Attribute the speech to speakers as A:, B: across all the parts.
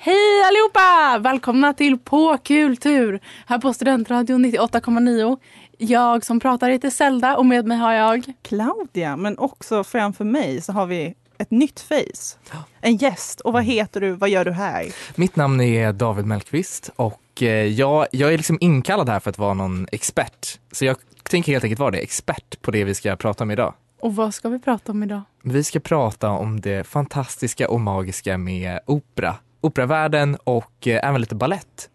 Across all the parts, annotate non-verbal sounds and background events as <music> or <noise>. A: Hej allihopa! Välkomna till På kultur här på Studentradion 98,9. Jag som pratar heter Zelda och med mig har jag...
B: Claudia, men också framför mig så har vi ett nytt face. En gäst. Och vad heter du? Vad gör du här?
C: Mitt namn är David Mellqvist och eh, jag, jag är liksom inkallad här för att vara någon expert. Så jag tänker helt enkelt vara det, expert på det vi ska prata om idag.
A: Och vad ska vi prata om idag?
C: Vi ska prata om det fantastiska och magiska med opera, operavärlden och eh, även lite ballett.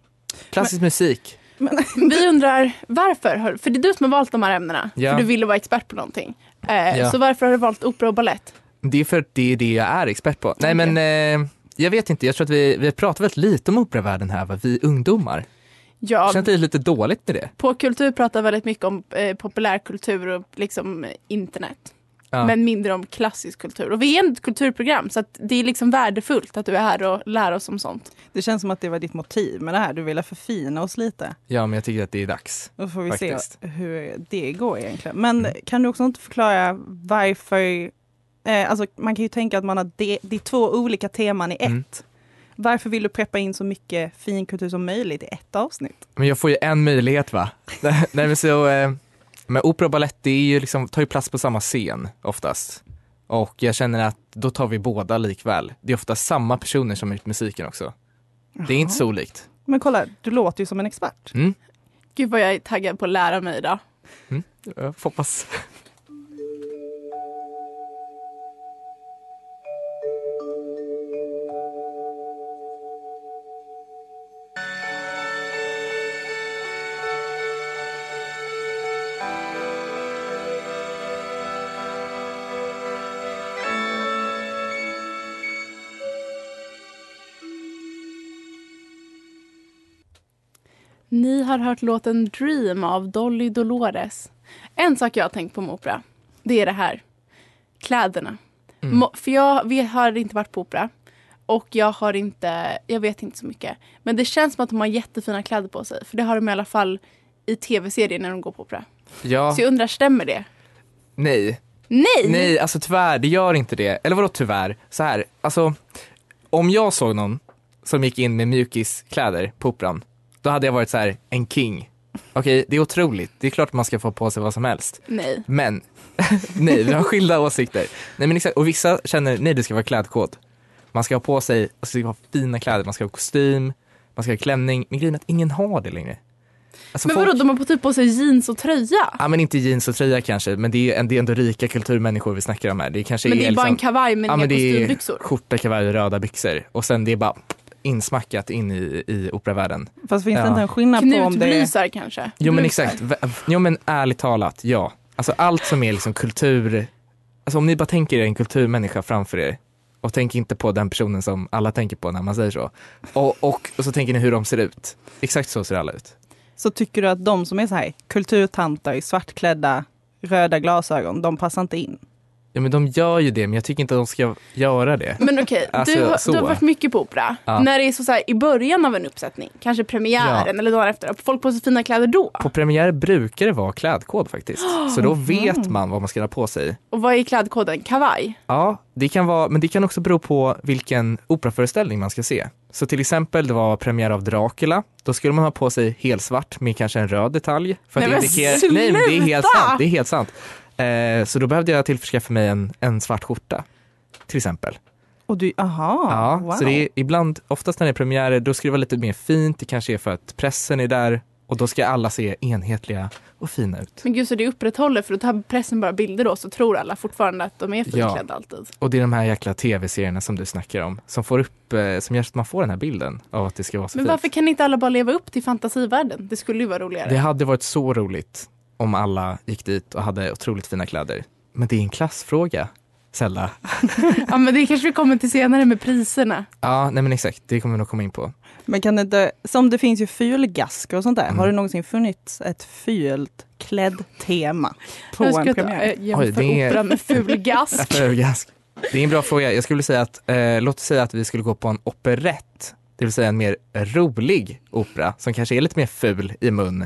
C: Klassisk musik.
A: Vi undrar varför? har- För det är du som har valt de här ämnena.
C: Ja.
A: För du ville vara expert på någonting. Eh,
C: Ja.
A: Så varför har du valt opera och ballett?
C: Det är för att det är det jag är expert på. Nej men eh, jag vet inte, jag tror att vi, vi pratar väldigt lite om operavärlden här, va? vi ungdomar.
A: Ja,
C: Känns det lite dåligt med det?
A: på kultur pratar väldigt mycket om eh, populärkultur och liksom eh, internet.
C: Ja.
A: Men mindre om klassisk kultur. Och vi är ett kulturprogram så att det är liksom värdefullt att du är här och lär oss om sånt.
B: Det känns som att det var ditt motiv med det här. Du ville förfina oss lite.
C: ja men jag tycker att det är dags.
B: Och så får vi
C: Faktiskt. Mm.
B: se hur det går egentligen. Men kan du också inte förklara varför... Eh, alltså man kan ju tänka att man har de, det är två olika teman i ett.
C: Mm.
B: Varför vill du preppa in så mycket finkultur som möjligt i ett avsnitt?
C: Men jag får ju en möjlighet va? <laughs> Nej men så, eh, men opera och balett det är ju liksom, tar ju plats på samma scen oftast. Och jag känner att då tar vi båda likväl. Det är ofta samma personer som har gjort musiken också. Det är inte så olikt.
B: Men kolla, du låter ju som en expert.
C: Mm.
A: Gud vad jag är taggad på att lära mig idag.
C: Jag får hoppas.
A: Ni har hört låten Dream av Dolly Dolores. En sak jag har tänkt på med opera, det är det här. Kläderna.
C: Mm.
A: Mo- För jag vi har inte varit på opera. Och jag har inte, jag vet inte så mycket. Men det känns som att de har jättefina kläder på sig. För det har de i alla fall i tv-serier när de går på opera.
C: Ja, <laughs>
A: Så jag undrar, stämmer det?
C: nej.
A: Nej!
C: Nej, alltså tyvärr, det gör inte det. Eller vadå tyvärr? Så här, alltså om jag såg någon som gick in med mjukiskläder på operan, då hade jag varit så här, en king. Okej, det är otroligt. Det är klart man ska få på sig vad som helst.
A: Nej.
C: Men, nej, vi har skilda åsikter. Nej, men exakt, och vissa känner, nej det ska vara klädkod. Man ska ha på sig, alltså, det ska vara fina kläder, man ska ha kostym, man ska ha klänning. Men grejen är att ingen har det längre. Alltså,
A: Men
C: folk-
A: vadå, de har på typ på sig jeans och tröja.
C: Ja men inte jeans och tröja kanske, men det är, en- det är ändå rika kulturmänniskor vi snackar om här. Det kanske
A: Men det är bara en
C: liksom,
A: kavaj med
C: ja,
A: inga
C: men det är
A: kostymbyxor.
C: skjorta, kavaj och röda byxor. Och sen det är bara insmackat in i, i operavärlden.
B: Fast finns
C: Ja.
B: det inte en skillnad på om det är...
A: Knutblusar kanske.
C: Jo men
A: Blusar.
C: exakt, Va- jo men ärligt talat, ja. Alltså allt som är liksom kultur, alltså om ni bara tänker er en kulturmänniska framför er och tänk inte på den personen som alla tänker på när man säger så. Och, och, och så tänker ni hur de ser ut. Exakt så ser alla ut.
B: så tycker du att de som är så här kulturtantar, i svartklädda, röda glasögon, de passar inte in.
C: Ja men de gör ju det men jag tycker inte att de ska göra det.
A: Men okej,
C: Alltså,
A: du, har-
C: så.
A: du har varit mycket på opera.
C: Ja.
A: När det är så, så här, i början av en uppsättning, kanske premiären eller dagen efter, folk på sig fina kläder då.
C: På premiär brukar det vara klädkod faktiskt. Så då vet man vad man ska ha på sig.
A: Och vad är klädkoden? Kavaj?
C: Ja, det kan vara, men det kan också bero på vilken operaföreställning man ska se. Så till exempel det var premiär av Dracula, då skulle man ha på sig helsvart med kanske en röd detalj. För
A: Nej, men
C: indikera- Nej men det är helt
A: sluta!
C: sant, det är helt sant. Eh, så då behövde jag tillförskaffa mig en, en svart skjorta, till exempel.
B: Och du, aha,
A: Ah,
C: Ja,
B: wow.
C: så det är ibland, oftast när det är premiärer, då ska det vara lite mer fint. Det kanske är för att pressen är där och då ska alla se enhetliga och fina ut.
A: Men gud, så det upprätthåller för då tar pressen bara bilder då så tror alla fortfarande att de är finklädda alltid.
C: Och det är de här jäkla tv-serierna som du snackar om som får upp, eh, som gör att man får den här bilden av att det ska vara så
A: Men
C: fint.
A: varför kan inte alla bara leva upp till fantasivärlden? Det skulle ju vara roligare.
C: Det hade varit så roligt om alla gick dit och hade otroligt fina kläder. Men det är en klassfråga, Sella.
A: Ja, men det kanske vi kommer till senare med priserna.
C: Ja, nej men exakt, det kommer vi nog komma in på.
B: Men kan det inte, som det finns ju fylgaskor och sånt där,
C: Mm.
B: har det någonsin funnits ett fult kläddtema på
A: jag
B: en
A: ska
B: premiär?
A: äh, jämför
C: Oj, det är-
A: opera med fulgask.
C: <laughs> Övergask. Det är en bra fråga. Jag skulle säga att, eh, låt oss säga att vi skulle gå på en operett, det vill säga en mer rolig opera som kanske är lite mer ful i mun.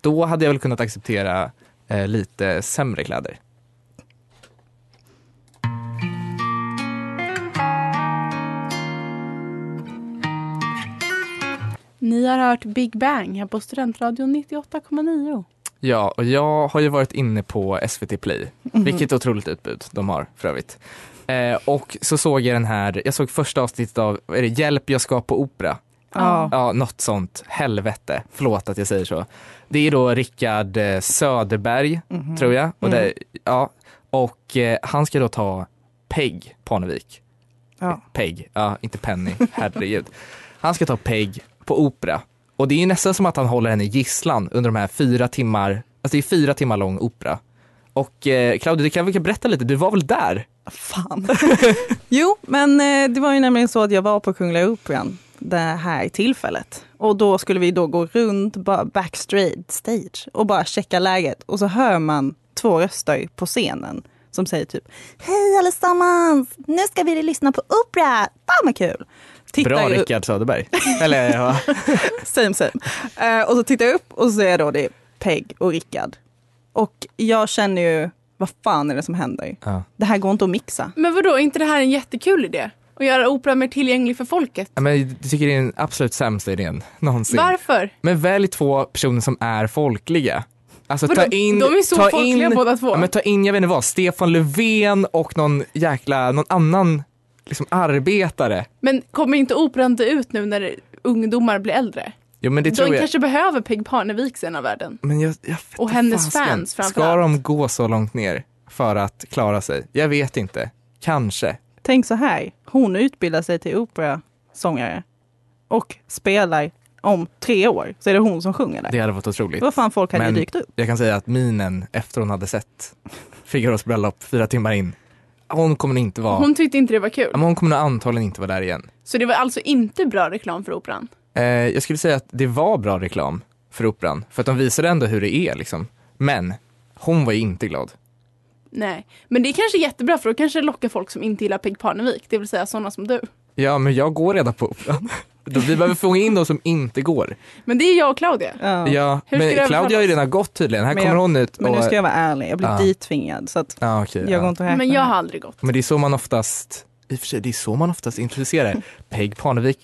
C: Då hade jag väl kunnat acceptera eh, lite sämre kläder.
A: Ni har hört Big Bang här på Studentradion 98,9.
C: Ja, och jag har ju varit inne på SVT Play,
A: eh,
C: vilket otroligt utbud de har för övrigt. Eh, och så såg jag den här, jag såg första avsnittet av, vad är det, Hjälp jag ska på opera.
B: Ja.
C: Ja, något sånt. Helvete. Förlåt att jag säger så. Det är då Rickard eh, Söderberg, tror jag. Och, det, ja. och eh, han ska då ta Peg Parnevik.
B: Ja.
C: Peg, ja, inte Penny. Herregud. Han ska ta Peg på opera. Och det är ju nästan som att han håller henne i gisslan under de här fyra timmar, alltså det är fyra timmar lång opera. Och eh, Claudia, du kan väl berätta lite, du var väl där?
B: Fan. <laughs> jo, men eh, det var ju nämligen så att jag var på Kungliga Operan det här tillfället. Och då skulle vi då gå runt bara backstage stage och bara checka läget. Och så hör man två röster på scenen som säger typ Hej allesammans! Nu ska vi lyssna på opera! Fan vad kul! Tittar
C: Bra
B: jag upp-
C: Rickard Söderberg. Eller ja.
A: <laughs>
B: Same same. Eh, och så tittar jag upp och så ser jag då det är Peg och Rickard. Och jag känner ju, vad fan är det som händer?
C: ja.
B: Det här går inte att mixa.
A: Men vadå, är inte det här en jättekul idé? Att göra opera mer tillgänglig för folket?
C: Ja, Men jag tycker det är den absolut sämsta idén någonsin.
A: Varför?
C: Men välj två personer som är folkliga. Alltså
A: Vadå?
C: ta in,
A: De är så
C: ta
A: folkliga
C: in,
A: båda två.
C: Ja, men ta in, jag vet inte vad, Stefan Löfven och någon jäkla, någon annan liksom arbetare.
A: Men kommer inte operan dö ut nu när ungdomar blir äldre?
C: Jo men det
A: de
C: tror jag.
A: kanske behöver Peg Parnevik sen av världen.
C: Men jag, jag vet
A: Och
C: inte
A: hennes
C: fasken.
A: fans framför
C: Ska de gå så långt ner för att klara sig? Jag vet inte. Kanske.
B: Tänk så här, hon utbildar sig till operasångare och spelar om tre år, så är det hon som sjunger där.
C: Det hade varit otroligt.
B: Vad fan, folk hade
C: Men-
B: ju dykt upp.
C: Jag kan säga att minen efter hon hade sett Figaros bröllop fyra timmar in, hon kommer inte vara, hon,
A: Hon tyckte inte det var kul.
C: men hon kommer nog antagligen inte vara där igen.
A: Så det var alltså inte bra reklam för operan.
C: Eh, jag skulle säga att det var bra reklam för operan, för att de visade ändå hur det är liksom. Men hon var ju inte glad.
A: Nej, men det är kanske jättebra för då kanske det lockar folk som inte gillar Peg Parnevik, det vill säga sådana som du.
C: Ja, men jag går redan på operan. <laughs> Då- Vi behöver få in de som inte går.
A: Men det är jag och Claudia.
B: Ja.
C: Ja,
A: Hur ska
C: men
A: det
C: Claudia har ju redan gått tydligen. Här
B: Men
C: kommer
B: jag-
C: hon ut och...
B: Men nu ska jag vara ärlig, jag blev
C: Ja.
B: ditvingad så att
C: Ja, okej,
B: jag går
C: ja.
B: inte och räknar
A: Men jag
B: här.
A: har aldrig gått.
C: men det är så man oftast, i och för sig, det är så man oftast introducerar. Peg Parnevik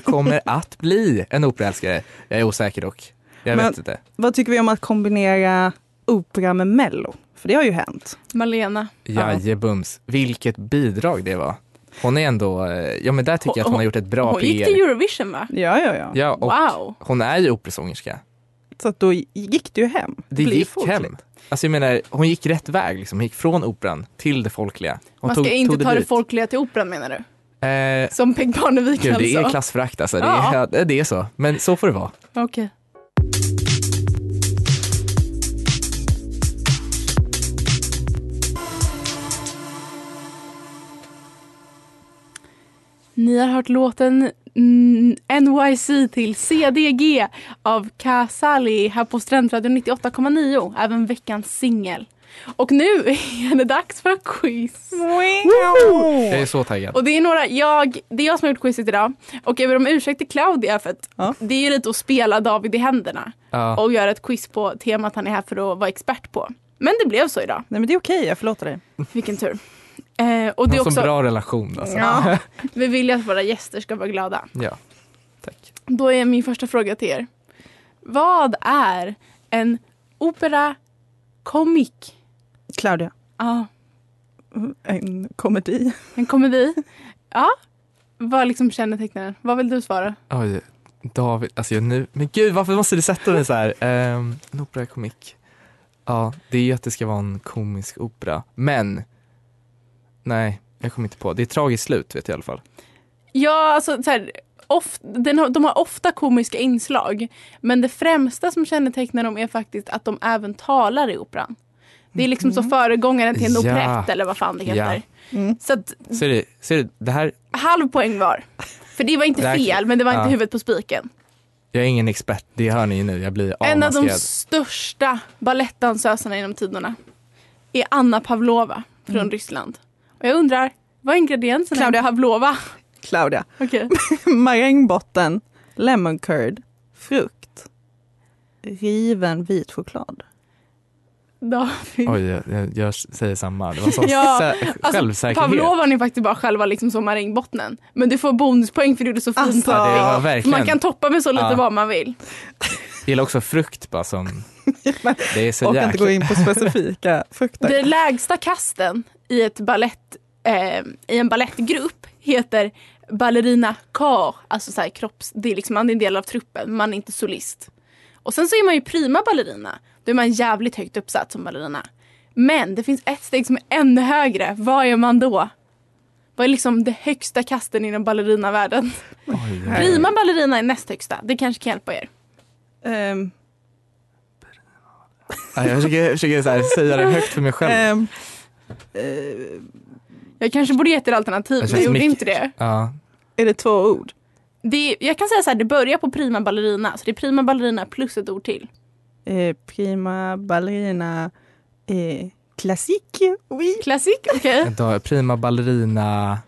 A: <laughs>
C: kommer att bli en operaälskare. Jag är osäker dock. Jag
B: Men-
C: vet inte.
B: Vad tycker vi om att kombinera opera med mello? För det har ju hänt.
A: Malena,
C: Jajebums, vilket bidrag det var. Hon är ändå, eh, ja men där tycker jag att hon har gjort ett bra
A: hon
C: PR.
A: gick till Eurovision va?
B: Ja, ja, ja.
C: Ja, E. och
A: Wow!
C: hon är ju operasångerska.
B: Så att då gick det ju hem.
C: Det
B: blir
C: gick
B: folkligt.
C: hem. Alltså jag menar, hon gick rätt väg liksom. Hon gick från operan till det folkliga. Hon
A: Man ska inte ta det
C: dit.
A: folkliga till operan menar du?
C: Eh,
A: Som Peg Parnevik
C: gud, det är
A: alltså?
C: klassförakt alltså.
A: Ja.
C: <laughs> Det, är, det är så. Men så får det vara.
A: Okej. Ni har hört låten mm, NYC till CDG av Kasali här på Strändradion 98,9. Även veckans singel. Och nu <laughs> är det dags för quiz.
C: Jag är så taggad.
A: Och det är några, jag, det är jag som har gjort quizet idag. Och jag ber om ursäkt till Claudia för att
B: Ja.
A: det är ju lite att spela David i händerna.
C: Ja.
A: Och göra ett quiz på temat han är här för att vara expert på. Men det blev så idag.
B: Nej men det är okej, jag förlåter dig.
A: Vilken tur. Eh, och det
C: Någon
A: är
C: sån
A: också,
C: bra relation alltså. <laughs>
A: Ja. vi vill ju att våra gäster ska vara glada.
C: Ja. Tack.
A: Då är min första fråga till er. Vad är en opera komik?
B: Claudia, Mm,
A: Ja,
B: en komedi.
A: en komedi. Ja, vad liksom kännetecknar den? Vad vill du svara?
C: Oj, David, alltså jag nu, men gud varför måste du sätta mig så här? Um, en operakomik. Ja, det är ju att det ska vara en komisk opera, men nej, jag kommer inte på. Det är ett tragiskt slut vet jag i alla fall.
A: Ja, alltså så här, of, den har, de har ofta komiska inslag. Men det främsta som kännetecknar dem är faktiskt att de även talar i operan. Det är liksom så föregångaren till en
C: Mhm. Ja.
A: operett eller vad fan det heter.
B: Mm.
A: Så att,
C: Ser du, ser du, det här,
A: halv poäng var. För det var
C: Det
A: inte
C: här-
A: fel, men det var inte
C: ja.
A: huvudet på spiken.
C: jag är ingen expert, det hör ni ju nu, jag blir
A: en av de
C: avmaskad.
A: största balettdansöserna genom tiderna är Anna Pavlova från
C: Mm.
B: Mm.
A: Ryssland. Och jag undrar, vad är ingredienserna i
B: Claudia.
A: Pavlova?
B: Claudia,
A: Okej.
B: marängbotten, lemon curd, frukt, riven vit choklad.
A: David.
C: Oj, jag, jag, jag säger samma. Det var sån
A: <laughs> Ja,
C: sä-
A: Alltså,
C: självsäkerhet.
A: Pavlovan är faktiskt bara själva liksom som marängbottnen. Men du får bonuspoäng för du gjorde så fint.
B: Alltså,
C: Ja, det var
A: Så man
C: verkligen.
A: kan toppa med så lite
C: Ja.
A: vad man vill.
C: Jag gillar också frukt bara som, det är så
B: Och inte gå
C: jäkla...
B: in på
C: <laughs>
B: specifika frukter.
A: Det lägsta kasten i, ett ballett, eh, i en ballettgrupp heter ballerina ka. Alltså så här kropps, det är liksom, man är en del av truppen, man är inte solist. Och sen så är man ju prima ballerina. Då är man jävligt högt uppsatt som ballerina. Men det finns ett steg som är ännu högre. Vad är man då? Vad är liksom det högsta kasten inom ballerinavärlden?
C: Oj, oj, oj.
A: Prima ballerina är näst högsta. Det kanske kan hjälpa er.
B: Ehm,
C: Ja, Jag försöker, jag försöker så här, säga det högt för mig själv.
A: Eh,
B: ehm, eh,
A: Jag kanske borde gett er alternativ,
C: Jag
A: men jag
C: känns
A: gjorde
C: mycket-
A: inte det.
C: Ja.
B: är det två ord?
A: det. är- Jag kan säga så här, det börjar på prima ballerina. Så det är prima ballerina plus ett ord till.
B: Eh, prima ballerina eh, classique, oui.
A: Klassik, okej.
C: <laughs> En dag- Prima ballerina.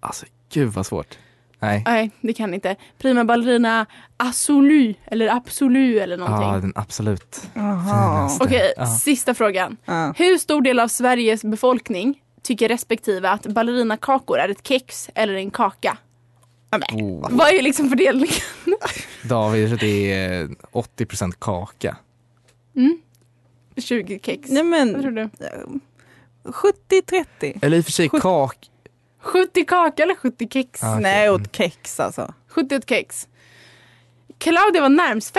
C: Alltså gud vad svårt. Nej.
A: Nej, det kan inte. Prima ballerina absolu, eller absolu eller någonting.
C: Ja, den absolut
B: Jaha.
C: finaste.
A: Okej,
C: Ja.
A: sista frågan.
B: Ja.
A: Hur stor del av Sveriges befolkning tycker respektive att ballerinakakor är ett kex eller en kaka?
C: Oh,
A: Vad är liksom fördelningen?
C: David, det är 80 kaka. Mm.
A: 20 Mm. kex.
B: Nej
A: Vad tror
B: men, eh,
A: du?
B: 70-30.
C: Eller i och för sig
B: Sjut-
C: kak.
A: 70 kaka eller 70 kex?
C: Ja, Ah, okej.
B: Nej, åt kex alltså.
A: 71 kex. Claudia var närmst.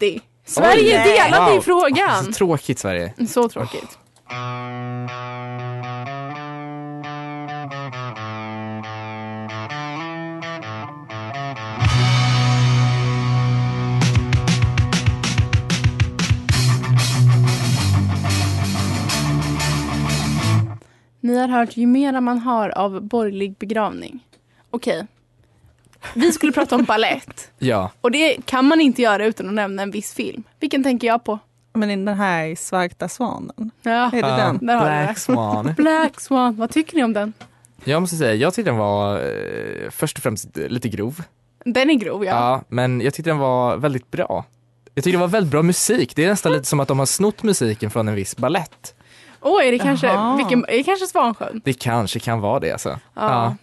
A: 50-50! Sverige
B: nej.
A: delade i
C: Wow. Alltså, Så
A: frågan.
C: tråkigt Sverige.
A: Så tråkigt. Ni har hört ju mera man har av borgerlig begravning. Okej. Vi skulle prata om ballett.
C: Ja,
A: Och det kan man inte göra utan att nämna en viss film. Vilken tänker jag på?
B: Men den här svarta svanen,
A: Ja,
B: är det
C: Ja.
B: den?
A: där har du det.
C: Black Swan.
A: Black Swan, vad tycker ni om den?
C: Jag måste säga, jag tyckte den var eh, först och främst lite grov.
A: Den är grov ja.
C: Ja. men jag tyckte den var väldigt bra. Jag tyckte det var väldigt bra musik. Det är nästan lite som att de har snott musiken från en viss ballett.
A: Åh, är det kanske,
B: Jaha.
A: vilken, är det kanske Svansjön?
C: Det kanske kan vara det alltså.
A: Ja.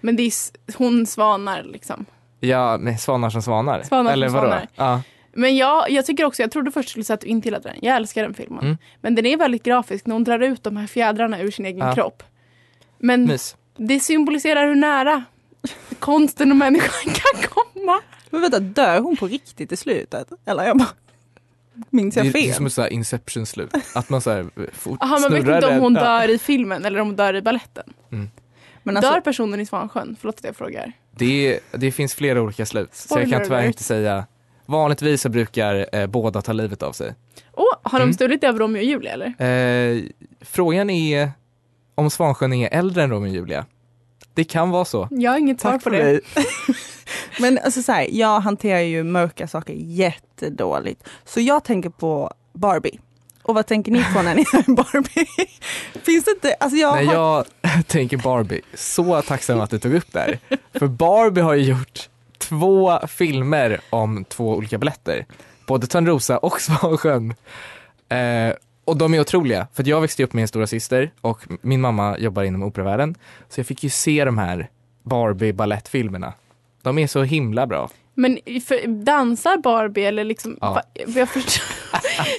A: Men det är s- hon svanar liksom.
C: Ja, men svanar som svanar.
A: Svanar som
C: Eller vadå?
A: svanar.
C: Ja.
A: Men jag, jag tycker också, jag trodde först skulle säga att du inte gillade den. Jag älskar den filmen.
C: Mm.
A: Men den är väldigt grafisk när hon drar ut de här fjädrarna ur sin egen
C: Ja.
A: kropp. Men
C: Mys.
A: det symboliserar hur nära konsten och människan <laughs> kan komma.
B: Men vänta, dör hon på riktigt i slutet? Eller jag bara, minns
C: Det är,
B: jag
C: det är som
B: fel?
C: ett sådär Inception-slut. Att man såhär fort
A: Aha, man vet
C: snurrar
A: inte om
C: den.
A: hon
C: Ja.
A: dör i filmen eller om hon dör i balletten.
B: Men alltså,
A: Dör personen i Svansjön? Förlåt att jag frågar.
C: Det, är- det finns flera olika slut, så jag
A: Spoiler
C: kan tyvärr
A: alert.
C: inte säga. Vanligtvis så brukar eh, båda ta livet av sig.
A: Åh, har de
C: Mm.
A: stulit över Romeo och Julia eller?
C: Eh, frågan är om Svansjön är äldre än Romeo och Julia. Det kan vara så.
A: Jag har inget svar på det.
B: men alltså så här, jag hanterar ju mörka saker jättedåligt. Så jag tänker på Barbie. Och vad tänker ni på när ni är <laughs> Barbie? Finns det inte, alltså jag
C: När
B: har
C: jag <laughs> tänker Barbie, så tacksam att du tog upp det här. För Barbie har ju gjort två filmer om två olika baletter. Både Törnrosa och <laughs> Svansjön. Eh, och de är otroliga. För att jag växte upp med en stora syster och min mamma jobbar inom operavärlden. Så jag fick ju se de här barbie balettfilmerna De är så himla bra.
A: Men för, dansar Barbie eller liksom...
C: Ja.
A: va- Jag, förstår, <laughs>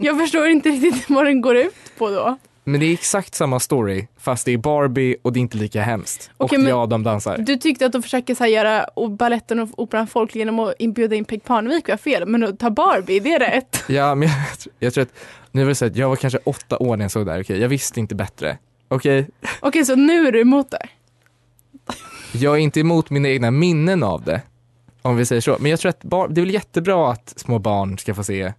A: jag förstår inte riktigt vad den går ut på då.
C: Men det är exakt samma story, fast det är Barbie och det är inte lika hemskt.
A: Okej,
C: och
A: men-
C: ja, de dansar.
A: Du tyckte att de försöker så här göra och baletten och operan folk genom att inbjuda in Peg Parnevik var fel, men att ta Barbie, det är
C: <laughs>
A: rätt.
C: Ja, men jag, tror- jag tror att, nu var det så att jag var kanske åtta år när jag såg det här, okej, jag visste inte bättre. Okej,
A: Okej, så nu är du emot det.
C: jag är inte emot mina egna minnen av det, om vi säger så. Men jag tror att bar, det är väl jättebra att små barn ska få se.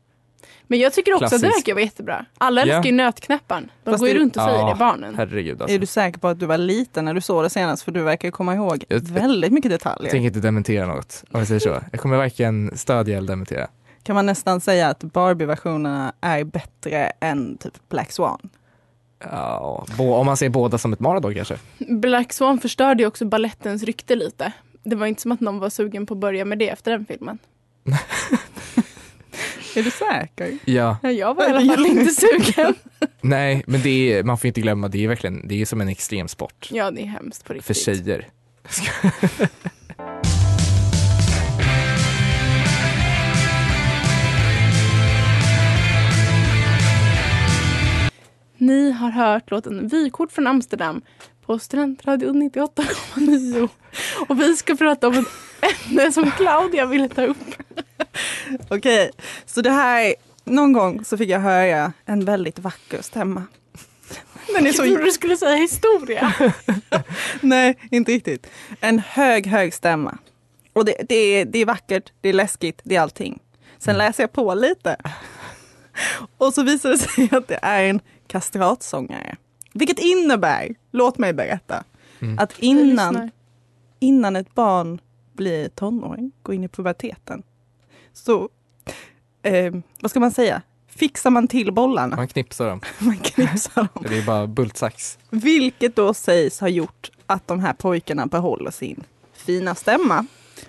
A: Men jag tycker också att det
C: Klassiskt.
A: verkar vara jättebra. Alla
C: Ja.
A: älskar ju nötknäpparen. De
B: Fast
A: går ju
B: det-
A: runt och säger
C: Ja.
A: det, barnen.
C: Herregud alltså.
B: Är du säker på att du var liten när du såg det senast? För du verkar ju komma ihåg
C: Jag-
B: väldigt mycket
C: Jag
B: detaljer.
C: tänker inte dementera något, om vi säger så. Jag kommer varken stödja eller dementera.
B: Kan man nästan säga att Barbie-versionerna är bättre än typ Black Swan?
C: Ja, bå- om man ser båda som ett maradog kanske.
A: Black Swan förstörde ju också ballettens rykte lite. Det var inte som att någon var sugen på att börja med det efter den filmen.
B: Är du säker?
C: Ja,
A: Ja, Jag var i
C: <laughs>
A: alla fall inte sugen.
C: nej, men det är, man får inte glömma, det är verkligen, det är som en extremsport
A: Ja, det är hemskt på riktigt.
C: för tjejer. <laughs>
A: Ni har hört låten Vykort från Amsterdam på Studentradion 98,9. Och vi ska prata om ett ämne som Claudia ville ta upp.
B: Okej, så det här, någon gång så fick jag höra en väldigt vacker stämma. Den är
A: Jag trodde
B: så,
A: du skulle säga historia.
B: <laughs> nej, inte riktigt. En hög, hög stämma. Och det, det, är, det är vackert, det är läskigt, det är allting. Sen läser jag på lite. Och så visar det sig att det är en kastratsångare. Vilket innebär, låt mig berätta, att innan innan ett barn blir tonåring, går in i puberteten, så, eh, vad ska man säga, fixar man till bollarna,
C: Man knipsar dem,
B: <laughs> man knipsar dem.
C: det är bara bultsax.
B: Vilket då sägs ha gjort att de här pojkarna behåller sin fina stämma.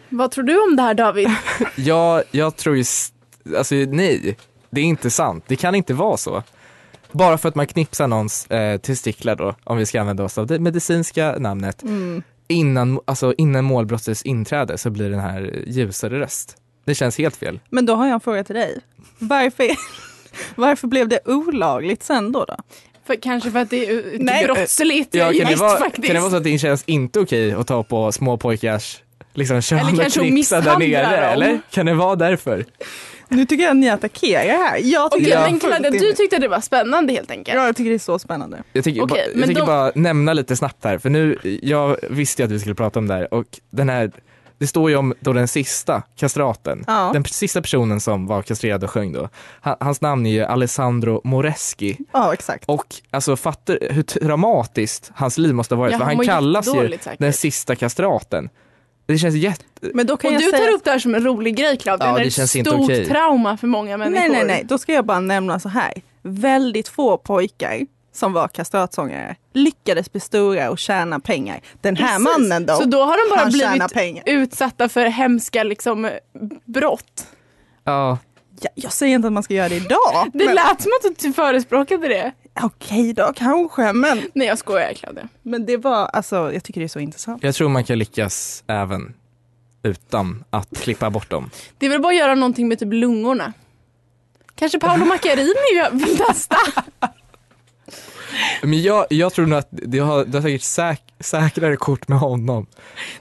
A: Vad tror du om det här David?
C: Jag, jag tror ju, s- alltså nej, det är inte sant. Det kan inte vara så. Bara för att man knipsar någons eh, testiklar då, om vi ska använda oss av det medicinska namnet,
A: Mm.
C: innan, alltså, innan målbrottets inträde så blir den här ljusare röst. Det känns helt fel.
B: Men då har jag en fråga till dig. Varför, <laughs> varför blev det olagligt sen då? då?
A: För, kanske för att det är
B: Nej,
A: Nej, brottsligt
C: Ja, kan, det
A: just
C: vara,
A: faktiskt.
C: kan det vara så att det känns inte okej att ta på små pojkars liksom, kön och
A: kanske att
C: knipsa där nere?
A: misshandla dem.
C: Eller? Kan det vara därför?
B: Nu tycker jag att ni attackerar här. Jag
A: Okej,
B: tycker, det är
A: men Claudia,
B: fullt
A: du
B: in-
A: tyckte det var spännande helt enkelt.
B: ja, jag tycker det är så spännande.
C: Jag tänker,
A: Okej,
C: ba,
A: men
C: jag tänker
A: de-
C: bara nämna lite snabbt här, för nu, jag visste ju att vi skulle prata om det här och den här, det står ju om då den sista kastraten,
B: Ja.
C: den sista personen som var kastrerad och sjöng då. Ha- Hans namn är ju Alessandro Moreschi
B: Ja, exakt.
C: och alltså fattar hur traumatiskt hans liv måste ha varit,
A: Ja,
C: för
A: han
C: han,
A: mår
C: kallas ju
A: jättedåligt säkert.
C: den sista kastraten. Det känns jätte...
B: Men då kan
A: Och
B: jag
A: du
B: säga...
A: tar upp det här som en rolig grej Claudia.
C: Ja,
A: det
C: det
A: är
C: känns
A: ett
C: inte
A: stort
C: okej.
A: trauma för många människor.
B: Nej, nej, nej. Då ska jag bara nämna så här. Väldigt få pojkar som var kastratsångare lyckades bli stora och tjäna pengar. Den här
A: Precis.
B: mannen då,
A: Så då har de bara
B: han tjänar
A: blivit
B: pengar.
A: utsatta för hemska liksom, brott.
C: Ja,
B: Jag, jag säger inte att man ska göra det idag.
A: <laughs> Det
B: men-
A: lät som att
C: typ
A: du förespråkade det.
B: Okej då, kanske. Men,
A: Nej, jag skojar Claudia.
B: men det var, alltså, jag tycker det är så intressant.
C: jag tror man kan lyckas även utan att klippa bort dem.
A: Det är väl bara att göra någonting med typ lungorna. Kanske
C: <laughs>
A: Paolo Macchiarini vill testa.
C: Men jag, jag tror nog att du har, du har säkert säk, säkrare kort med honom.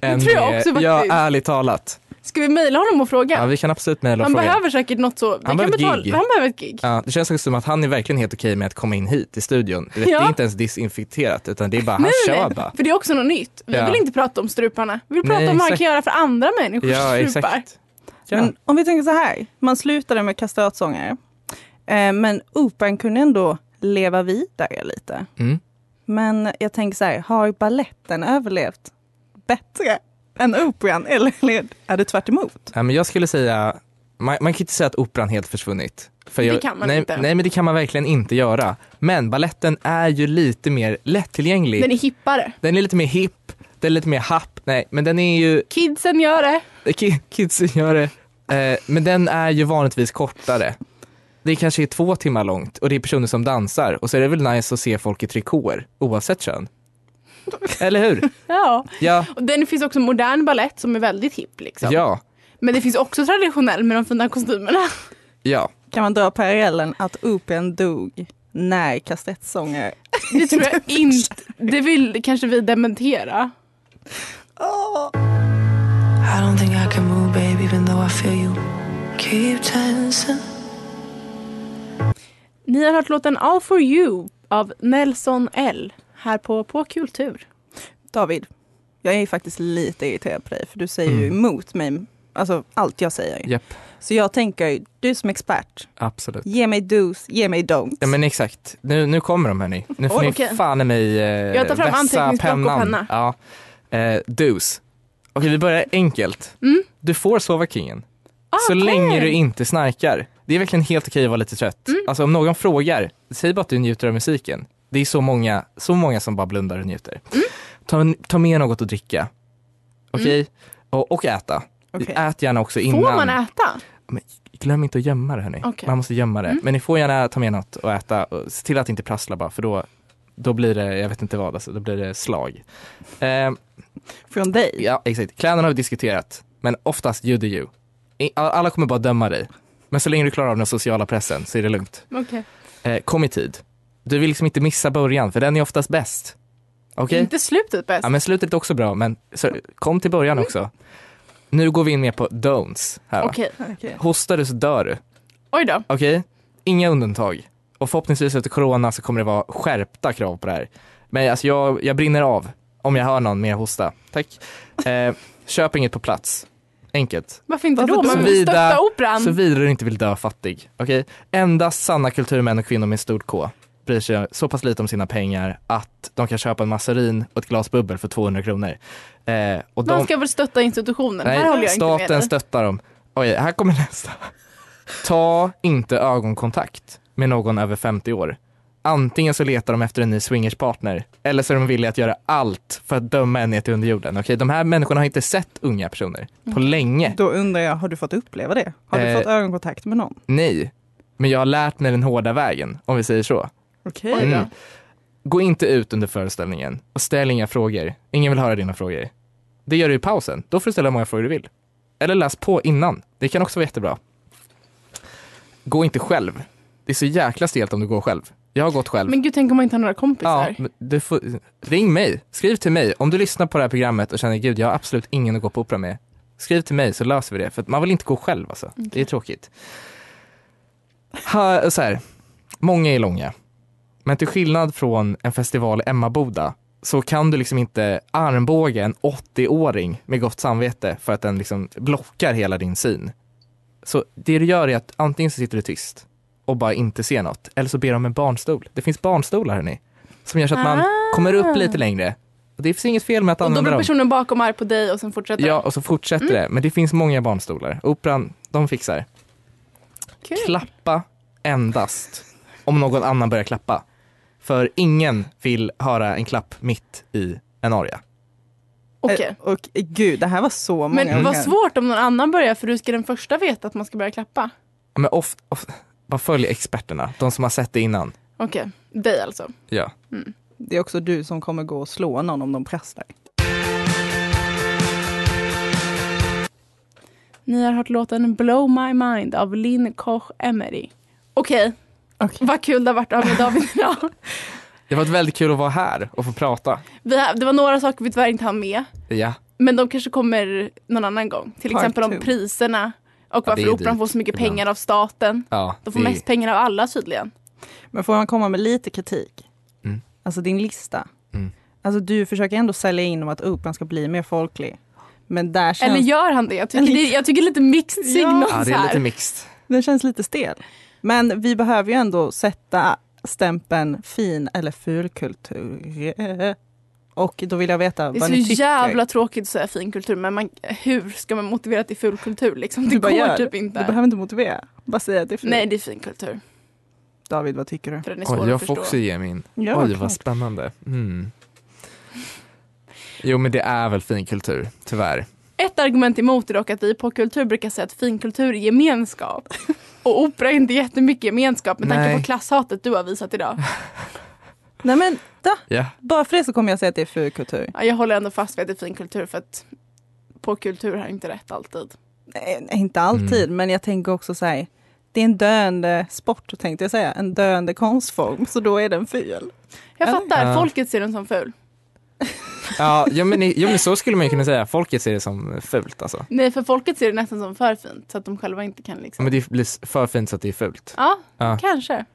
C: än
A: tror jag
C: med-
A: också
C: Ja,
A: faktiskt.
C: ärligt talat.
A: Ska vi mejla honom och fråga?
C: Ja, vi kan absolut mejla och
A: han
C: fråga.
A: behöver säkert något så. det kan
C: behöver ett
A: betala-
C: gig.
A: han behöver ett gig.
C: Ja, det känns också som att han är verkligen helt okej med att komma in hit i studion. Du vet, Det
A: Ja.
C: är inte ens disinfekterat utan det är bara, han
A: Nej, nej,
C: kör
A: nej.
C: bara.
A: För det är också något nytt. Vi
C: Ja.
A: vill inte prata om struparna. Vi vill prata
C: Nej,
A: om vad han
C: exakt.
A: kan göra för andra människors
C: Ja,
A: strupar.
C: exakt. Ja.
B: Men om vi tänker så här, man slutade med kastratsångare. Eh, men operan kunde ändå leva vidare lite.
C: Mm.
B: Men jag tänker så här, har balletten överlevt bättre än operan? Eller, eller är det tvärt emot?
C: Ja, men jag skulle säga man, man kan inte säga att operan helt försvunnit. För
A: Det kan man
C: nej,
A: inte.
C: Nej men det kan man verkligen inte göra. Men balletten är ju lite mer lättillgänglig.
A: Den är hippare.
C: Den är lite mer hipp, den är lite mer happ, nej men den är ju,
A: Kidsen gör det.
C: Eh, ki- kidsen gör det, eh, men den är ju vanligtvis kortare. Det kanske är två timmar långt och det är personer som dansar och så är det väl nice att se folk i trikåer oavsett kön. Eller hur?
A: Ja.
C: Ja,
A: Och den finns också modern ballett som är väldigt hipp. Liksom.
C: ja,
A: Men det finns också traditionell med de fina kostymerna.
C: <laughs> ja.
B: Kan man dra parallellen att operan dog när kasettsånger...
A: Det tror jag
C: Typ.
A: inte. Det vill kanske vi dementera.
D: I don't think I can move, babe, even though I feel you keep tensing.
A: Ni har hört låten All for you av Nelson L. Här på På Kultur.
B: David, jag är faktiskt lite irriterad på dig för du säger ju
C: Mm.
B: emot mig, alltså allt jag säger.
C: Japp.
B: Så jag tänker, du som expert,
C: absolut.
B: ge mig dos, ge mig don'ts.
C: Ja men exakt, nu, nu kommer de hörni. Nu får
A: Oj,
C: ni
A: okej.
C: fan i mig eh,
A: Jag tar fram
C: vässa
A: anteckningsblock och
C: pennan.
A: penna.
C: Ja. Eh, dus. Okej vi börjar enkelt.
A: Mm.
C: Du får sova kingen. så
A: Ah, okej.
C: länge du inte snarkar. Det är verkligen helt okej att vara lite trött.
A: Mm.
C: Alltså om någon frågar, säg bara att du njuter av musiken. Det är så många, så många som bara blundar och njuter.
A: Mm.
C: Ta, ta med något att dricka. Okej? Och, och äta.
B: Okej.
C: Ät gärna också innan.
A: Mm. Får man äta?
C: Glöm inte att gömma det hörni.
A: Okej. Mm.
C: Man måste gömma det. Men ni får gärna ta med något och äta. Och se till att inte prassla bara för då, då blir det, jag vet inte vad, alltså, då blir det slag. Eh,
B: Från dig.
C: ja exakt, kläderna har vi diskuterat. Men oftast you do you. I- Alla kommer bara döma dig. Men så länge du klarar av den sociala pressen så är det lugnt.
A: Okej.
C: Eh, kom i tid. Du vill liksom inte missa början för den är oftast bäst. Okej?
A: Inte slutet bäst.
C: Ja men slutet är också bra men så, kom till början också. Nu går vi in mer på don'ts här va.
A: Okej.
C: Hostar du så dör du.
A: Oj då.
C: Okej, inga undantag. Och förhoppningsvis efter corona så kommer det vara skärpta krav på det här. Men alltså jag, jag brinner av om jag hör någon med hosta. Tack. Eh, köp inget på plats. Enkelt.
A: Varför inte
C: Varför
A: då? Man vill
C: Såvida-
A: stötta operan.
C: Såvida du inte vill dö fattig. Okej? Endast sanna kulturmän och kvinnor med stort K bryr sig så pass lite om sina pengar att de kan köpa en massarin och ett glas bubbel för 200 kronor. Eh, och
A: Man
C: de-
A: ska väl stötta institutionen.
C: Nej,
A: här håller jag
C: staten
A: inte med dig.
C: stöttar dem. Oj, här kommer nästa. Ta inte ögonkontakt med någon över 50 år. Antingen så letar de efter en ny swingerspartner eller så är de villiga att göra allt för att döma en ner till underjorden. Okej, de här människorna har inte sett unga personer
A: Mm.
C: på länge.
B: Då undrar jag, har du fått uppleva det? Har du
C: Eh.
B: fått ögonkontakt med någon?
C: Nej, men jag har lärt mig den hårda vägen, om vi säger så.
B: Okej.
A: Oj då.
C: Mm. Gå inte ut under föreställningen och ställ inga frågor. Ingen vill höra dina frågor. Det gör du i pausen. Då får du ställa hur många frågor du vill. Eller läs på innan. Det kan också vara jättebra. Gå inte själv. Det är så jäkla stelt om du går själv. Jag har gått själv.
A: Men gud, tänk om man inte har några kompisar.
C: men du får, ring mig. Skriv till mig. Om du lyssnar på det här programmet och känner gud, jag har absolut ingen att gå på opera med. Skriv till mig så löser vi det. För att man vill inte gå själv alltså. Det är tråkigt. Ha, så här. Många är långa. Men till skillnad från en festival i Emmaboda så kan du liksom inte armbåga en 80-åring med gott samvete för att den liksom blockar hela din syn. Så det du gör är att antingen så sitter du tyst och bara inte ser något eller så ber du om en barnstol. Det finns barnstolar hörni som gör så att man kommer upp lite längre. Och det finns inget fel med att
A: Ah. Och då
C: använda
A: blir
C: dem.
A: personen bakom arg på dig och sen fortsätter
C: Ja, och så fortsätter
A: Mm.
C: det. Men det finns många barnstolar. Operan, de fixar.
A: Kul.
C: Klappa endast om någon annan börjar klappa. För ingen vill höra en klapp mitt i en aria.
A: Okej.
B: Eh, Och eh, gud, det här var så många
A: Men vad
B: gånger.
A: svårt om någon annan börjar för du ska den första veta att man ska börja klappa.
C: Men of, of, bara följ experterna, de som har sett det innan.
A: Okej, dig alltså.
C: Ja.
B: Det är också du som kommer gå och slå någon om de prasslar.
A: Ni har hört låten Blow My Mind av Linn Koch Emery. Okej,
B: Okej.
A: vad kul det har varit att ha med David idag.
C: Det har varit väldigt kul att vara här och få prata.
A: Vi har, det var några saker vi tyvärr inte hann med.
C: Ja,
A: Men de kanske kommer någon annan gång. Till
B: Part
A: exempel om
B: two.
A: priserna och
C: Ja, det
A: varför
C: är
A: operan
C: dyrt
A: får så mycket
C: ibland.
A: pengar av staten.
C: ja
A: De får
C: det-
A: mest pengar av alla tydligen.
B: Men får man komma med lite kritik?
C: Mm.
B: Alltså din lista.
C: Mm.
B: Alltså du försöker ändå sälja in om att operan ska bli mer folklig. Men där känns,
A: Eller gör han det? Jag tycker, det, jag tycker lite mixed signals
C: ja, det är
A: här.
C: lite mixed.
B: den känns lite stel. Men vi behöver ju ändå sätta stämpeln fin eller fulkultur och då vill jag veta
A: Det är
B: vad
A: så
B: ni tycker.
A: jävla tråkigt att säga fin kultur men man, hur ska man motivera att det är ful kultur liksom? Det
B: Du bara gör
A: går
B: det.
A: typ
B: Du
A: inte.
B: behöver inte motivera, bara säga att det är fint.
A: Nej det är fin kultur.
B: David, vad tycker du?
A: För den är svår
C: Oj, jag
A: att
C: får också
A: förstå.
C: ge min.
B: Ja,
C: Oj,
B: klart.
C: vad spännande. Mm. Jo, men det är väl finkultur, tyvärr.
A: Ett argument emot är dock att vi på kultur brukar säga att finkultur är
C: <laughs>
A: gemenskap. Och opera är inte jättemycket gemenskap med tanke
C: Nej.
A: på klasshatet du har visat idag.
B: Nej men
C: Ja.
B: bara för det så kommer jag säga att det är fulkultur.
A: Ja, jag håller ändå fast vid att det är fin kultur för att på kultur har jag inte rätt alltid.
B: Nej, nej, Eh, inte alltid,
C: Mm.
B: men jag tänker också så här. Det är en döende sport tänkte jag säga, en döende konstform, så då är den ful.
A: Jag
B: Eller?
A: fattar,
C: Ja.
A: folket ser den som ful.
C: <laughs> Ja, jo, men, jo, men så skulle man ju kunna säga. Folket ser det som fult alltså.
A: Nej, för folket ser det nästan som för fint så att de själva inte kan
C: Ja,
A: liksom.
C: Men det blir för fint så att det är fult.
A: Ja,
C: Ja.
A: kanske.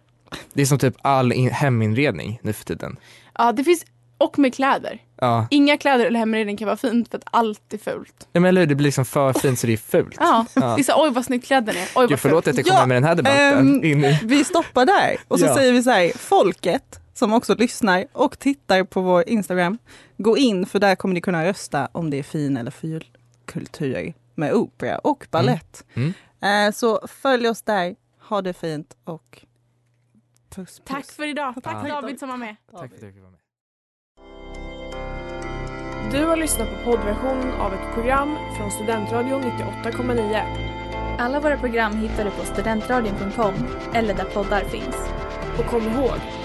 C: Det är som typ all in- heminredning nu för tiden.
A: Ja, det finns, och med kläder.
C: Ja,
A: Inga kläder eller heminredning kan vara fint för att allt är fult.
C: Nej, men eller hur? Det blir liksom för fint så det är fult.
A: Ja,
C: Ja.
A: det är så oj vad snyggt kläderna är. Oj
C: Gud,
A: vad fult.
C: förlåt att jag kommer
B: Ja,
C: med den här debatten.
B: ehm,
C: in i...
B: Vi stoppar där och så
C: Ja.
B: säger vi så här, folket som också lyssnar och tittar på vår Instagram, gå in för där kommer ni kunna rösta om det är fin eller ful kultur med opera och ballett.
C: Mm.
B: Eh, Så följ oss där, ha det fint och puss puss.
A: Tack för idag. Tack
C: Ja.
A: David som var med.
C: Tack för att du fick vara med.
E: Du har lyssnat på poddversionen av ett program från Studentradion 98,9.
F: Alla våra program hittar du på studentradion.com eller där poddar finns.
E: Och kom ihåg,